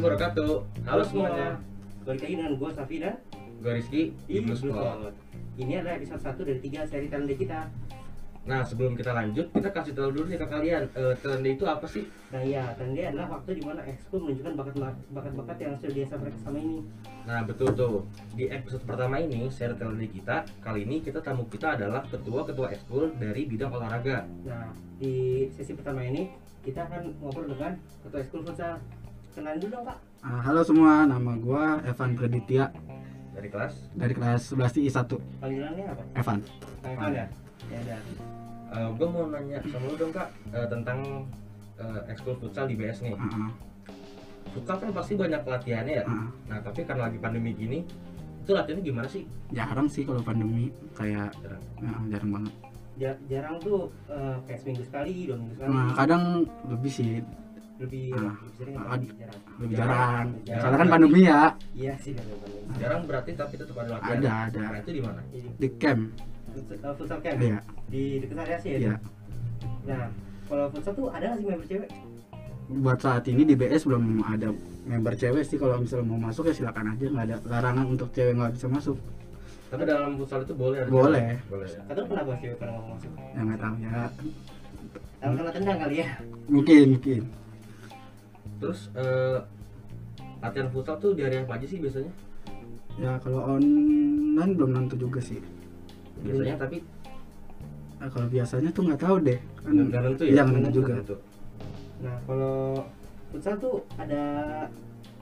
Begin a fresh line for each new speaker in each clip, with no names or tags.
wabarakatuh. Halo semuanya.
Balik lagi dengan gue Safi dan
Gue Rizky di Plus
Ibnu
Call.
Squad. Ini adalah episode 1 dari 3 seri Talent Day kita
Nah, sebelum kita lanjut, kita kasih tahu dulu nih ke kalian, eh Talent Day itu apa sih?
Nah iya, Talent Day adalah waktu di mana ekskul menunjukkan bakat- bakat-bakat yang sudah biasa mereka sama ini
Nah, betul tuh. Di episode pertama ini, share Talent Day kita, kali ini kita tamu kita adalah ketua-ketua ekskul dari bidang olahraga.
Nah, di sesi pertama ini kita akan ngobrol dengan Ketua Ekskul Futsal Kenalan dulu dong Pak
Ah, halo semua, nama gua Evan Preditya
Dari kelas,
dari kelas 11 I1.
Panggilannya apa?
Evan.
Panggilan ya? Ya ada
eh gue mau nanya sama lu dong kak, eh, tentang eh, ekskul futsal di BS nih.
Ah, ah,
Futsal kan pasti banyak latihannya ya.
ah.
Nah, tapi karena lagi pandemi gini, itu latihannya gimana sih?
Jarang sih kalau pandemi, kayak
Jarang.
ah, jarang banget.
Ja- jarang tuh eh, kayak seminggu sekali, dua minggu sekali
Nah, kadang lebih sih,
lebih,
Ah.
lebih sering apa?
Ad-
jarang
lebih
Jarang.
jarang.
Jarang.
Soalnya kan pandemi ya,
iya sih benar-benar
Jarang berarti tapi tetap ada latihan.
ada ada
Nah, itu di mana?
jadi
di camp.
futsal, eh, futsal camp
Iya,
di dekat area sih ya
iya.
nah kalau futsal tuh ada nggak sih member cewek
Buat saat ini di BS belum ada member cewek sih kalau misalnya mau masuk ya silakan aja nggak ada larangan untuk cewek nggak bisa masuk
Tapi dalam futsal itu boleh ada
Boleh.
cewek? Boleh. ya.
kata lu kenapa cewek kalau mau masuk
ya nggak tahu ya
kalau kena tendang kali ya
mungkin mungkin
Terus eh, latihan futsal tuh di area apa aja sih biasanya?
ya kalau online belum tentu juga sih
Biasanya tapi
Nah, kalau biasanya tuh nggak tahu deh kan
nggak nggak tentu ya.
Iya, nggak tentu juga.
Nggak tentu.
nah kalau futsal tuh ada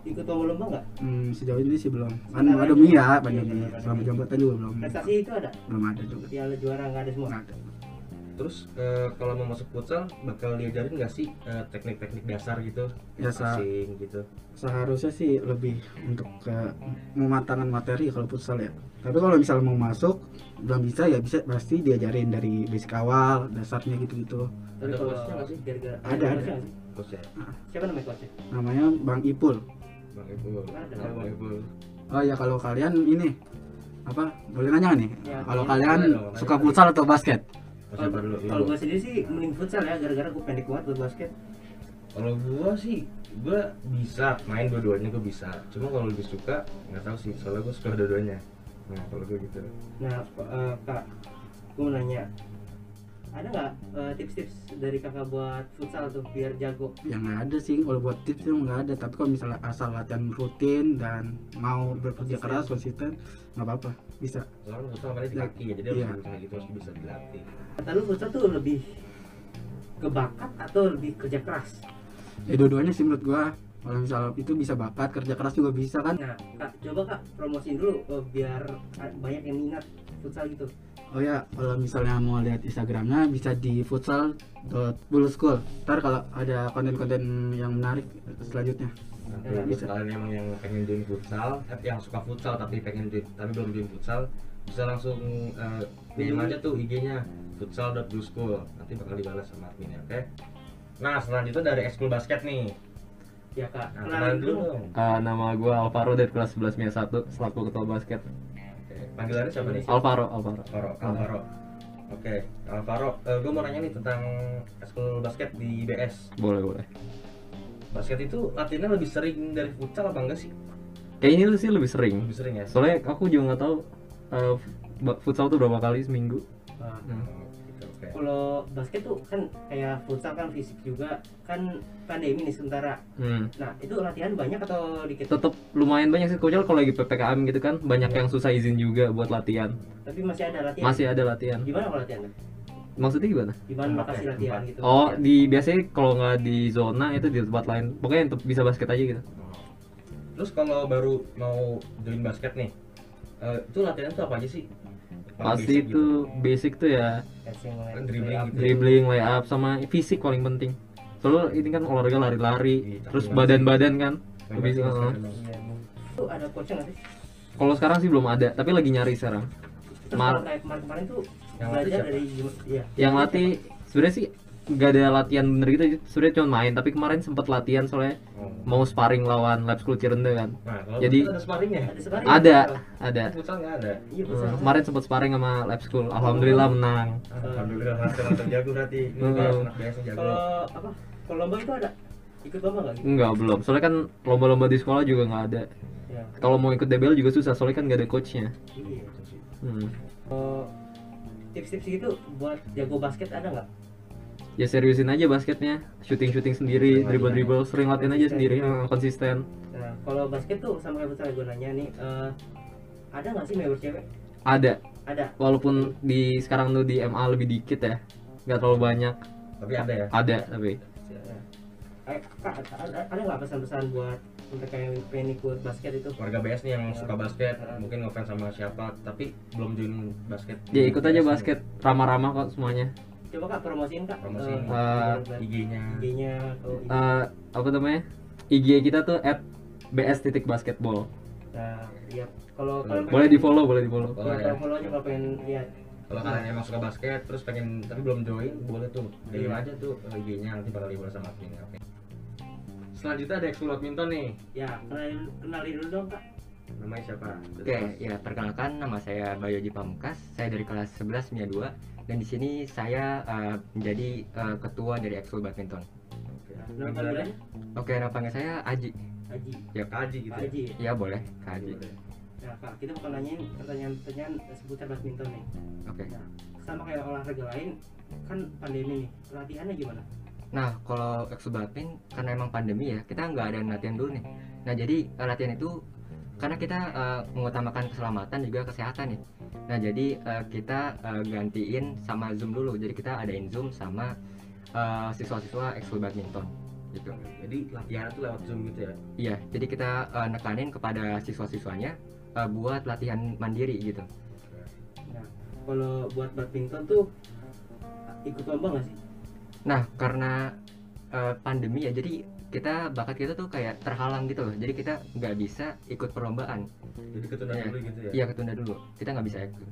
ikut lomba lomba nggak
Hmm, sejauh ini sih belum. Kan
Sementara
pandemi
ini.
ya,
Iya,
pandemi.
benar,
Selama
pandemi.
jabatan juga belum
prestasi itu ada
belum ada juga.
piala juara nggak ada semua
Nggak ada.
Terus eh, kalau mau masuk futsal bakal diajarin nggak sih eh, teknik-teknik dasar gitu?
Ya, sa-
Passing gitu.
seharusnya sih lebih untuk ke mematangkan materi kalau futsal ya. Tapi kalau misalnya mau masuk belum bisa ya bisa pasti diajarin dari basic awal dasarnya gitu-gitu.
Ada
tapi kalau
coachnya nggak sih?
gara-gara
Ada, ada.
coachnya nggak sih?
Terus ya,
siapa namanya coachnya
Namanya Bang Ipul.
Bang Ibu.
Ada.
Bang Ibu.
Oh ya kalau kalian ini apa boleh nanya nggak nih?
Ya,
kalau
iya,
kalian
boleh dong,
suka
nanya.
futsal atau basket?
Mas siapa dulu?
iya.
Ibu.
kalau gue sendiri sih mending futsal ya gara-gara gue pendek banget buat basket
Kalau gua sih gua bisa main dua-duanya gua bisa. Cuma kalau lebih suka nggak tahu sih. Soalnya gua suka dua-duanya. Nah kalau gua gitu.
Nah, Pak- eh, Kak, gue mau nanya, ada nggak eh, tips-tips dari kakak buat futsal tuh biar jago?
Ya nggak ada sih kalau buat tips tuh nggak ada. Tapi kalau misalnya asal latihan rutin dan mau bekerja
Konsisten.
keras konsisten nggak apa-apa bisa.
Soalnya futsal mainnya di
Ya.
kaki ya. Jadi harus
Iya.
bisa gitu harus bisa dilatih.
Kata lu futsal tuh lebih ke bakat atau lebih kerja keras?
ya dua-duanya sih menurut gua kalau misalnya itu bisa bakat kerja keras juga bisa kan
Nah, Kak, coba Kak promosiin dulu eh, biar eh, banyak yang minat futsal gitu.
oh ya kalau misalnya mau lihat instagramnya bisa di futsal.bullschool ntar kalau ada konten-konten yang menarik selanjutnya
Nah,
Ya,
kalau
bisa.
kalian emang yang pengen join futsal, eh, yang suka futsal tapi pengen join, tapi belum join futsal, bisa langsung eh, DM aja tuh IG-nya futsal.blueschool. Nanti bakal dibalas sama adminnya, oke? Nah, selanjutnya dari ekskul basket nih.
Ya Kak,
Nah, kenalan dulu dong.
Ah, nama gue Alvaro dari kelas 11 MIA 1 selaku ketua basket.
Oke, Panggilannya siapa nih?
Alvaro, Alvaro.
Alvaro. Alvaro. Oke, Alvaro, gue mau nanya nih tentang ekskul basket di IBS.
Boleh, boleh.
Basket itu latihannya lebih sering dari futsal apa enggak sih?
Kayak ini sih lebih sering.
Lebih sering ya?
Soalnya aku juga nggak tahu eh, ba- futsal tuh berapa kali seminggu.
Oh,
Nah,
gitu, oke.
kalau basket tuh kan kayak futsal kan fisik juga kan pandemi nih sementara.
Hmm.
Nah, itu latihan banyak atau dikit?
Tetap lumayan banyak sih kocel kalau lagi PPKM gitu kan, banyak yang susah izin juga buat latihan.
Tapi masih ada
Iya.
latihan.
Masih ada latihan.
Gimana kalau latihan?
Maksudnya gimana?
Gimana
Tempat
lokasi
ya,
latihan
tempat.
gitu?
Oh, di biasanya kalau nggak di zona itu di tempat lain. Pokoknya yang te- bisa basket aja gitu.
Terus kalau baru mau join basket nih, eh, itu latihan tuh apa aja sih? Paling
Pasti
basic gitu.
itu basic tuh ya
Passing,
Kan dribbling
layup.
gitu.
dribbling, layup sama fisik paling penting. Soalnya ini kan olahraga lari-lari,
Iya,
terus
tapi
badan-badan kan.
Paling
Lebih
basic
uh,
basket emang.
Iya. Itu ada coachnya nggak sih?
kalau sekarang sih belum ada, tapi lagi nyari sekarang.
Terus
Mar-
kalau kayak kemarin-kemarin tuh
Yang latih
belajar
siapa?
dari gim- iya.
Yang latih sebenarnya sih nggak ada latihan bener gitu, sebenarnya cuma main. Tapi kemarin sempat latihan soalnya
Oh.
mau sparring lawan Lab School Cirende kan.
Nah, kalau
Jadi-
basket ada sparringnya.
Ada sebenarnya.
Ada, ada.
Futsal nggak ada.
Iya,
Eh,
bisa.
kemarin sempat sparring sama Lab School, alhamdulillah menang.
Alhamdulillah, lancar lancar jago berarti. Ini
Hmm.
bahas anak biasa jago.
Kalau apa? Kalau lomba itu ada. ikut lomba nggak gitu
Enggak, belum. Soalnya kan lomba-lomba di sekolah juga nggak ada.
ya
Kalau mau ikut DBL juga susah, soalnya kan nggak ada coachnya.
iya
Hmm.
Oh, tips-tips gitu buat jago basket ada nggak
Ya seriusin aja basketnya, shooting-shooting
Iya,
sendiri, dribble-dribble, sering latihan aja sendiri, eh, konsisten.
nah kalau basket tuh sama kayak misalnya gue nanya nih eh, ada nggak sih member cewek
Ada,
ada
walaupun di sekarang tuh di MA lebih dikit ya, nggak terlalu banyak.
tapi ada ya
Ada tapi.
Ya. Eh, Kak, ada- ada ada nggak pesan-pesan buat mereka yang pengen ikut basket itu?
warga BS nih yang suka basket mungkin ngefans sama siapa tapi belum join basket
Iya,
Ya ikut aja basket, ramah-ramah kok semuanya.
Coba kak promosiin kak.
Promosiin.
eh,
IG-nya
IG-nya atau IG.
Eh, apa namanya? IG kita tuh at bs titik basketball.
Nah, iya. Kalau kalian
Boleh di follow, boleh di follow.
Boleh
Boleh
ya.
follow aja kalau pengen ya, lihat.
kalau kalian emang suka basket terus pengen tapi belum join boleh tuh DM aja tuh eh, IG-nya nanti bakal dibalas sama admin oke selanjutnya ada ekskul badminton nih
Ya, kenalin kenalin dulu dong kak.
namanya siapa
Oke, ya perkenalkan nama saya Bayoji Pamungkas. Saya dari kelas 11 MIA 2 dan di sini saya eh, menjadi eh, ketua dari Expo Badminton.
Oke.
Nama panggilannya
Oke, nama panggil saya Aji.
Haji.
Kak Aji gitu
Pak
ya?
Haji.
Ya boleh, Kak Aji.
Boleh.
Nah kak, kita bakal nanyain pertanyaan-pertanyaan seputar badminton nih.
Oke.
Sama kayak olahraga lain, kan pandemi nih. Latihannya gimana?
Nah, kalau Expo Badminton karena emang pandemi ya, kita nggak ada latihan dulu nih. Nah, jadi eh, latihan itu karena kita eh, mengutamakan keselamatan juga kesehatan nih. Nah, jadi eh, kita eh, gantiin sama Zoom dulu. Jadi kita adain Zoom sama eh, siswa-siswa Expo Badminton gitu.
jadi latihan tuh lewat zoom gitu ya
Iya, jadi kita eh, nekanin kepada siswa-siswanya eh, buat latihan mandiri gitu.
Kalau buat badminton tuh ikut lomba nggak sih?
Nah, karena eh, pandemi ya, jadi kita bakat kita tuh kayak terhalang gitu loh. Jadi kita nggak bisa ikut perlombaan.
jadi ketunda
Iya.
dulu gitu ya
Iya, ketunda dulu. Kita nggak bisa ikut.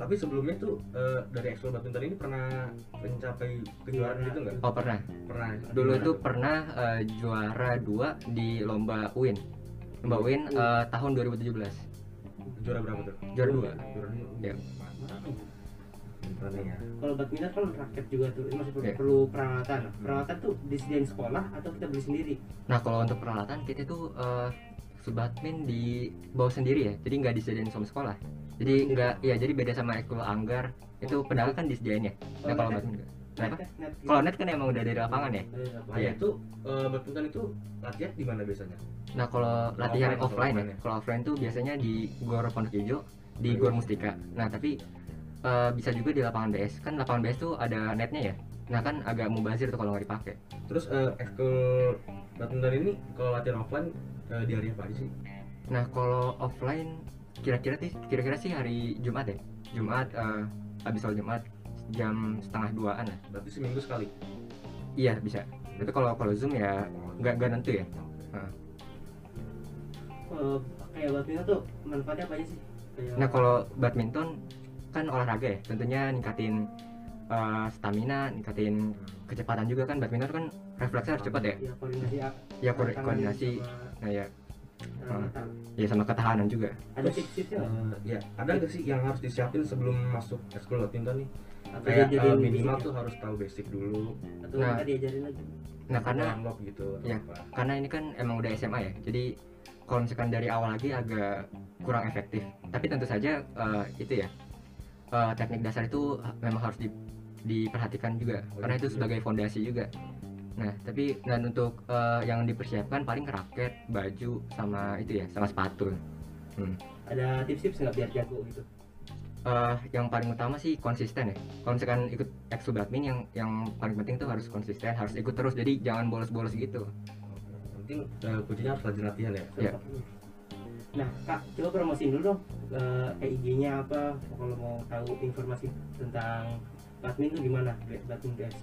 tapi sebelumnya tuh eh, dari ekskul badminton ini pernah mencapai kejuaraan gitu nggak
Oh pernah.
pernah
Dulu
Gimana
tuh pernah eh, juara dua di lomba UIN. Lomba UIN eh, tahun 2017.
juara berapa tuh
Juara dua.
juara dua
Iya.
mantap Keren ya
Kalau badminton kan raket juga tuh, ini masih perlu,
Iya.
perlu perawatan. Perawatan tuh disediain sekolah atau kita beli sendiri?
Nah, kalau untuk peralatan kita tuh eh sebatmin di bawah sendiri ya. Jadi nggak disediain sama sekolah. Jadi nggak ya jadi beda sama ekskul anggar itu padahal kan disediain ya. Nah, kalau
net,
badminton nggak. Kenapa?
net, net gitu.
Kalau net kan emang udah dari lapangan ya.
Dari lapangan.
Nah,
Iya.
itu eh, badminton itu latihan di mana biasanya?
Nah, kalau latihan
offline,
offline,
offline
ya. Kalau offline tuh biasanya di Gor Pondok Ijo, di Gor Mustika. Nah, tapi eh, bisa juga di lapangan BS. Kan lapangan BS tuh ada netnya ya. Nah, kan agak mubazir tuh kalau nggak dipakai.
Terus eh, ekskul badminton ini kalau latihan offline eh, di hari apa aja sih?
Nah, kalau offline kira-kira sih kira-kira sih hari Jumat ya. Jumat eh habis sholat Jumat jam setengah duaan lah.
Berarti seminggu sekali.
Iya, bisa. Tapi kalau kalau Zoom ya nggak nggak nentu ya.
Eh, kayak badminton tuh manfaatnya apa aja sih? Kayak
Nah, kalau badminton kan olahraga ya. Tentunya ningkatin eh, stamina, ningkatin kecepatan juga kan badminton kan refleksnya harus cepat ya.
ya koordinasi ak-
Ya ko-
tangan
koordinasi.
sama
Nah, ya
perawatan.
ya sama ketahanan juga.
Ada tips-tipsnya nggak?
Eh, ya, ada nggak sih yang harus disiapin sebelum masuk ekskul badminton nih?
Atau
Kayak eh,
diajarin
minimal
basicnya?
tuh harus tahu basic dulu,
Atau
Nah.
kita diajarin lagi?
Nah, karena
unlock gitu atau
Iya.
apa.
karena ini kan emang udah SMA ya jadi kalau misalkan dari awal lagi agak kurang efektif tapi tentu saja eh, itu ya eh, teknik dasar itu ha- memang harus di- diperhatikan juga
Oh,
karena
iya,
itu
iya.
sebagai fondasi juga nah tapi dan untuk eh, yang dipersiapkan paling raket baju sama itu ya sama sepatu
Ada tips-tips nggak biar jago gitu?
Eh, yang paling utama sih konsisten ya kalau misalkan ikut ekskul badminton yang yang paling penting tuh harus konsisten harus ikut terus jadi jangan bolos-bolos gitu
Yang Penting eh, kuncinya harus rajin latihan ya.
Iya.
Nah, Kak, coba promosiin dulu dong eh, IG-nya apa kalau mau tahu informasi tentang badminton tuh gimana? Badminton guys.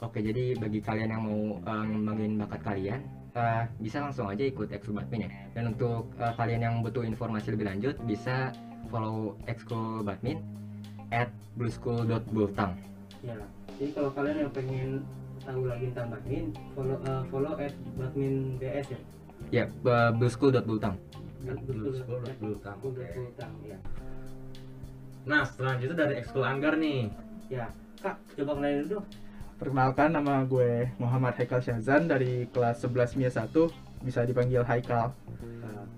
Oke, jadi bagi kalian yang mau eh, ngembangin bakat kalian, eh, bisa langsung aja ikut Expo Badmin ya. Dan untuk eh, kalian yang butuh informasi lebih lanjut, bisa follow Expo Badmin at blueschool.bultang.
Ya. Jadi kalau kalian yang pengen tahu lagi tentang badminton, follow eh, follow at badminton BS ya. Kan
Ya, eh, blueschool.bultang.
Kan
Iya,
Dulu sekolah dulu tamu.
Aku udah utang ya.
Nah, selanjutnya dari ekskul anggar nih.
Kak, coba kenalin dulu dong.
Perkenalkan nama gue Muhammad Haikal Syazan dari kelas 11 MIA 1, bisa dipanggil Haikal.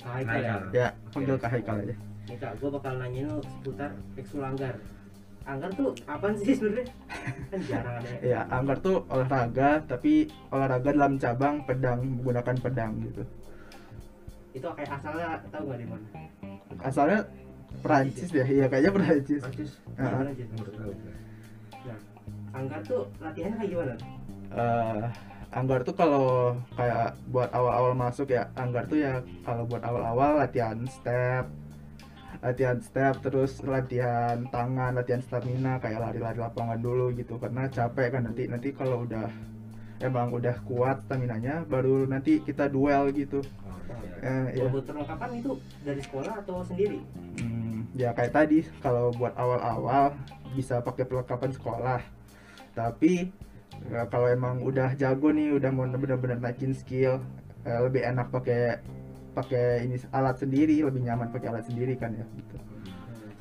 Kak Haikal ya.
Ya, panggil Kak Haikal aja.
Nih kak, gue bakal nanyain lu seputar ekskul Anggar. Anggar tuh apaan sih sebenarnya? Kan jarang ada.
Ya, anggar tuh olahraga, tapi olahraga dalam cabang pedang, menggunakan pedang gitu.
Itu kayak asalnya tahu nggak di mana?
Asalnya Perancis deh, ya kayaknya Perancis.
Prancis
Di
Heeh.
mana Jin?
nggak tahu gue.
Anggar tuh latihannya kayak gimana?
eh anggar tuh kalau kayak buat awal-awal masuk ya anggar tuh ya kalau buat awal-awal latihan step latihan step terus latihan tangan latihan stamina kayak lari-lari lapangan dulu gitu karena capek kan nanti nanti kalau udah emang udah kuat staminanya baru nanti kita duel gitu
Oh, iya.
eh, ya.
Buat perlengkapan itu dari sekolah atau sendiri?
Hmm, ya kayak tadi kalau buat awal-awal bisa pakai perlengkapan sekolah. Tapi ya, kalau emang udah jago nih, udah mau benar-benar naikin skill, eh, lebih enak pakai pakai ini alat sendiri, lebih nyaman pakai alat sendiri kan ya gitu.
Hmm.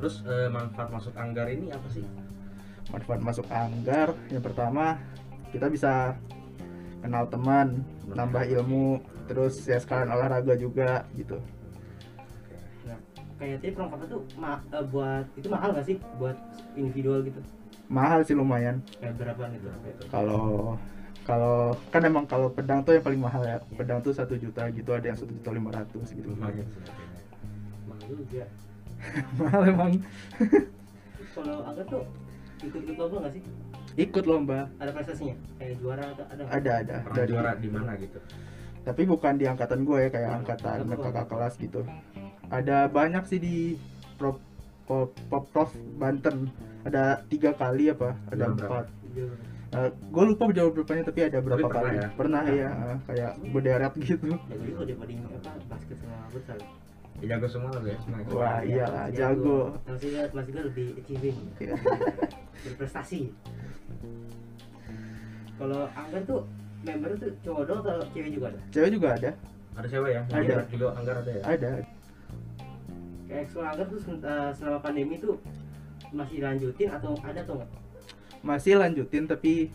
Terus eh, manfaat masuk anggar ini apa sih?
Manfaat masuk anggar yang pertama kita bisa kenal teman, nambah ilmu, terus ya sekalian olahraga juga gitu.
Kayak tadi perlengkapan tuh ma- eh, buat itu mahal nggak sih buat individual gitu?
Mahal sih lumayan.
Kayak berapaan itu?
kalau kalau kan emang kalau pedang tuh yang paling mahal ya pedang tuh satu juta gitu ada yang satu juta lima ratus gitu
Lumayan sih. kayaknya.
Mahal juga.
mahal emang
Kalau Anggar tuh ikut-ikut lomba nggak sih?
ikut lomba
Ada prestasinya? Kayak juara atau ada? nggak?
ada ada
Pernah
dari
juara di mana gitu?
tapi bukan di angkatan gue ya kayak angkatan kakak kelas gitu ada banyak sih di prop pop Poprov Banten ada tiga kali apa ada
Juara berapa?
empat Eh, gue lupa jauh berapanya Iya, tapi ada berapa
pernah
kali
ya?
pernah ya eh, kayak berderet gitu
Jago juga daripada ini apa basket sama futsal.
Ya, jago semua lah ya. Semua ikut.
wah iyalah Iya, jago
Maksudnya maksudnya lebih achieving.
Iya.
Berprestasi. Kalau Anggar tuh member tuh cowok doang atau cewek juga ada?
cewek juga ada
Ada cewek ya?
Ada.
Anggar Juga anggar ada ya?
ada
Kayak ekskul Anggar tuh sen- eh, selama pandemi tuh masih lanjutin atau ada atau enggak?
masih lanjutin tapi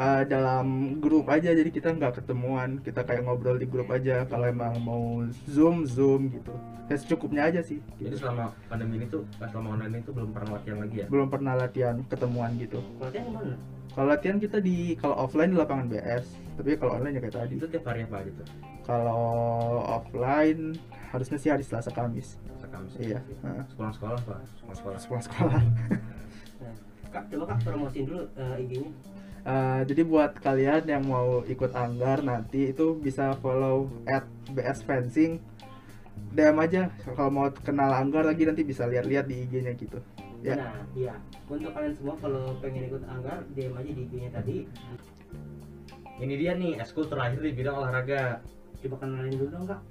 uh, dalam grup aja jadi kita nggak ketemuan kita kayak ngobrol di grup aja kalau emang mau zoom zoom gitu ya secukupnya aja sih Gitu.
Jadi selama pandemi ini tuh, pas selama online itu belum pernah latihan lagi ya?
belum pernah latihan ketemuan gitu
Latihan di mana?
kalau latihan kita di kalau offline di lapangan BS tapi kalau online ya kayak tadi
Itu tiap hari apa gitu?
kalau offline harusnya sih hari Selasa Kamis
Sekamis.
iya heeh.
Sekolah-sekolah pak? Sekolah-sekolah.
sekolah-sekolah
Kak, coba Kak promosiin dulu eh, IG-nya.
Uh, jadi buat kalian yang mau ikut anggar nanti itu bisa follow at BS Fencing DM aja kalau mau kenal anggar lagi nanti bisa lihat-lihat di IG-nya gitu Ya.
Nah, iya. Untuk kalian semua kalau pengen ikut Anggar, DM aja di IG-nya tadi.
Ini dia nih, eskul terakhir di bidang olahraga.
Coba kenalin dulu dong, Kak.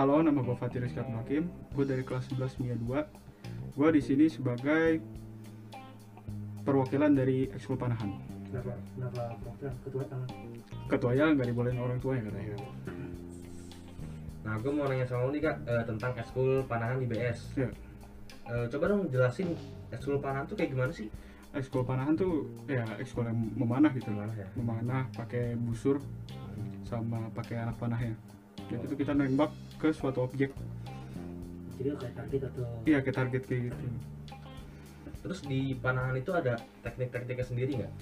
Halo, nama gue Fatih Rizky Hakim. Gue dari kelas 11 MIA 2. Gue di sini sebagai perwakilan dari ekskul panahan.
Kenapa? Kenapa? Kenapa? Ketua tangan.
Ketuanya nggak dibolehin orang tuanya katanya.
Nah, gue mau nanya sama lu nih kak eh, tentang eskul panahan di BS.
Iya.
Eh, coba dong jelasin eskul panahan tuh kayak gimana sih?
Ekskul panahan tuh ya ekskul yang memanah gitu lah.
Gimana ya?
Memanah pakai busur sama pakai anak panahnya. Jadi itu kita nembak ke suatu objek.
Jadi lu kayak target atau
Iya, ke target kayak gitu.
Terus di panahan itu ada teknik-tekniknya sendiri nggak?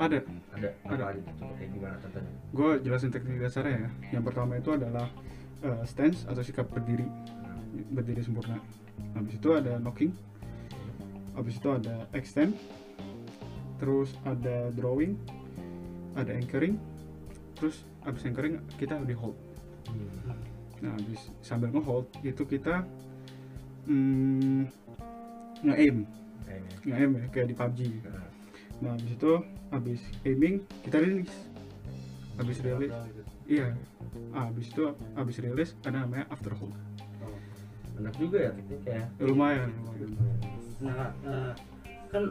Ada.
Ada
Ada.
apa aja tuh? Coba Kayak gimana contohnya?
Gue jelasin teknik dasarnya ya. Yang pertama itu adalah eh, stance atau sikap berdiri. berdiri sempurna. Habis itu ada knocking. Habis itu ada extend. Terus ada drawing, ada anchoring. Terus habis anchoring kita di hold. Nah, habis sambil nge-hold itu kita mm, nge-aim,
Kayaknya.
nge-aim ya, kayak di PUBG.
Nah,
Nah, habis itu habis aiming kita rilis. Habis rilis, iya. Ah, habis itu habis rilis ada namanya after hold.
Enak juga ya tekniknya. ya.
Ya, lumayan, lumayan.
Nah, Kak, eh, kan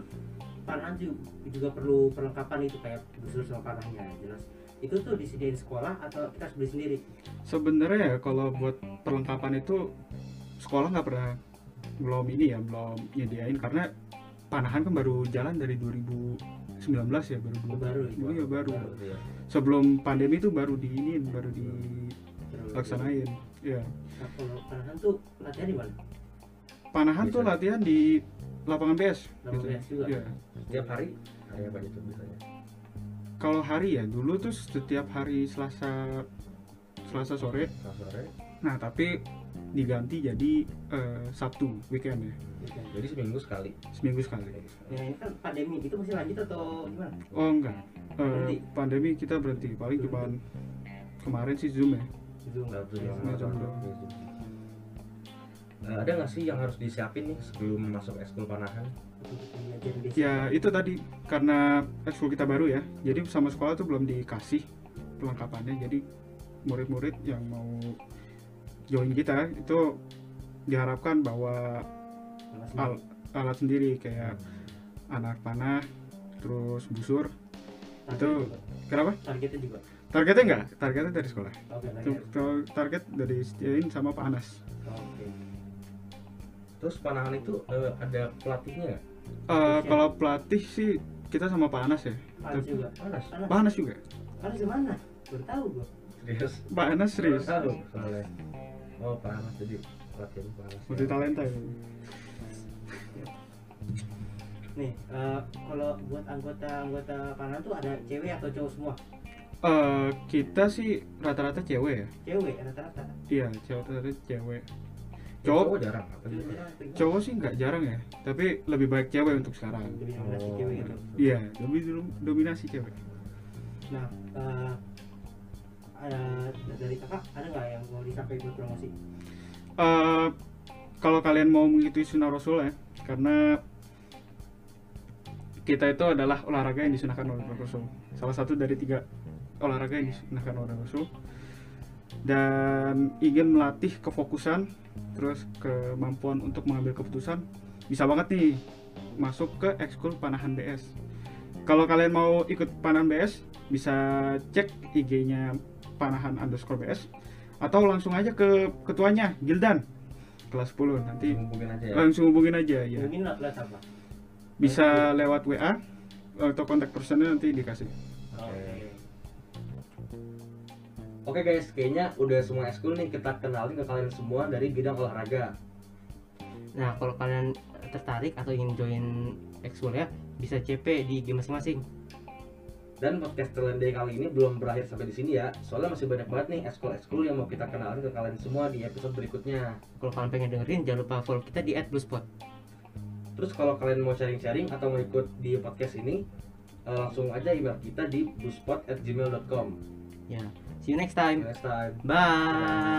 panahan ju- juga perlu perlengkapan itu kayak busur sama panahnya jelas. Itu tuh disediain sekolah atau kita harus beli sendiri?
sebenarnya ya kalau buat perlengkapan itu sekolah nggak pernah belum ini ya belum nyediain karena panahan kan baru jalan dari 2019 19 ya baru dua.
Baru itu.
Iya, baru.
Baru.
Iya.
Sebelum pandemi itu baru diinin, baru dilaksanain. Ya.
Nah, kalau panahan tuh latihan di mana?
Panahan
Bisa.
tuh latihan di lapangan PS.
Lapangan PS juga.
Iya.
Tiap hari kayak apa gitu biasanya?
Kalau hari ya dulu tuh setiap hari Selasa Selasa sore.
Kalau sore.
Nah tapi diganti jadi eh, Sabtu weekend ya
Jadi seminggu sekali.
seminggu sekali.
Ya, ini kan pandemi itu masih lanjut atau gimana?
Oh enggak. Eh,
Berhenti.
pandemi kita berhenti paling cuma kemarin sih zoom ya.
Itu enggak.
Sabtu jam
Iya, jam dua.
Eh, ada nggak sih yang harus disiapin nih sebelum masuk ekskul panahan?
Diajarin di
Ya itu tadi karena ekskul kita baru ya. Jadi sama sekolah tuh belum dikasih perlengkapannya. Jadi murid-murid yang mau join kita itu diharapkan bawa
kelas enam.
al- alat sendiri kayak anak panah, terus busur.
Target
itu-
juga.
Kenapa?
targetnya juga.
Targetnya enggak? Targetnya dari sekolah.
Oke,
Tuh,
target.
tuh, Target dari Setiain sama Pak Anas.
Oke.
Terus panahan itu eh, ada pelatihnya nggak?
Eh, kalau pelatih sih kita sama Pak Anas ya.
Harus juga.
Panas.
Panas.
Pak Anas juga.
Panas gimana? Baru tahu gua.
Serius?
Pak Anas serius.
Tahu soalnya. Oh panas jadi pelatih panas.
Multi talenta ya.
Nih, eh, kalau buat anggota-anggota panahan tuh ada cewek atau cowok semua?
Eh, kita sih rata-rata cewek ya.
Cewek rata-rata.
Iya, cewek rata-rata cewek.
Cowok
Cowok
jarang apa gitu?
Iya. cowok sih nggak jarang ya, tapi lebih baik cewek untuk sekarang.
Lebih dominasi cewek gitu.
Iya, lebih dulu- dominasi cewek.
Nah, eh, ada dari kakak ada nggak yang mau disampaikan buat promosi?
Eh, kalau kalian mau mengikuti sunnah Rasul ya, karena kita itu adalah olahraga yang disunahkan oleh Rasul. Salah satu dari tiga olahraga yang disunahkan oleh Rasul. Dan ingin melatih kefokusan, terus kemampuan untuk mengambil keputusan, bisa banget nih masuk ke ekskul panahan BS. Kalau kalian mau ikut panahan BS, bisa cek IG-nya panahan underscore BS atau langsung aja ke ketuanya Gildan kelas 10 nanti
Mungkin aja ya.
langsung hubungin aja ya
Mungkin lah kelas apa?
bisa lewat WA atau kontak personnya nanti dikasih
Oke.
Oke guys, kayaknya udah semua eskul nih kita kenalin ke kalian semua dari bidang olahraga.
Nah, kalau kalian tertarik atau ingin join ekskul ya, bisa CP di game masing-masing.
Dan podcast Telan Day kali ini belum berakhir sampai di sini ya. Soalnya masih banyak banget nih eskul-eskul yang mau kita kenalin ke kalian semua di episode berikutnya.
Kalau kalian pengen dengerin, jangan lupa follow kita di @bluespot.
Terus kalau kalian mau sharing-sharing atau mau ikut di podcast ini, eh, langsung aja email kita di buspot@gmail.com.
Ya, see you next time.
Next time.
Bye.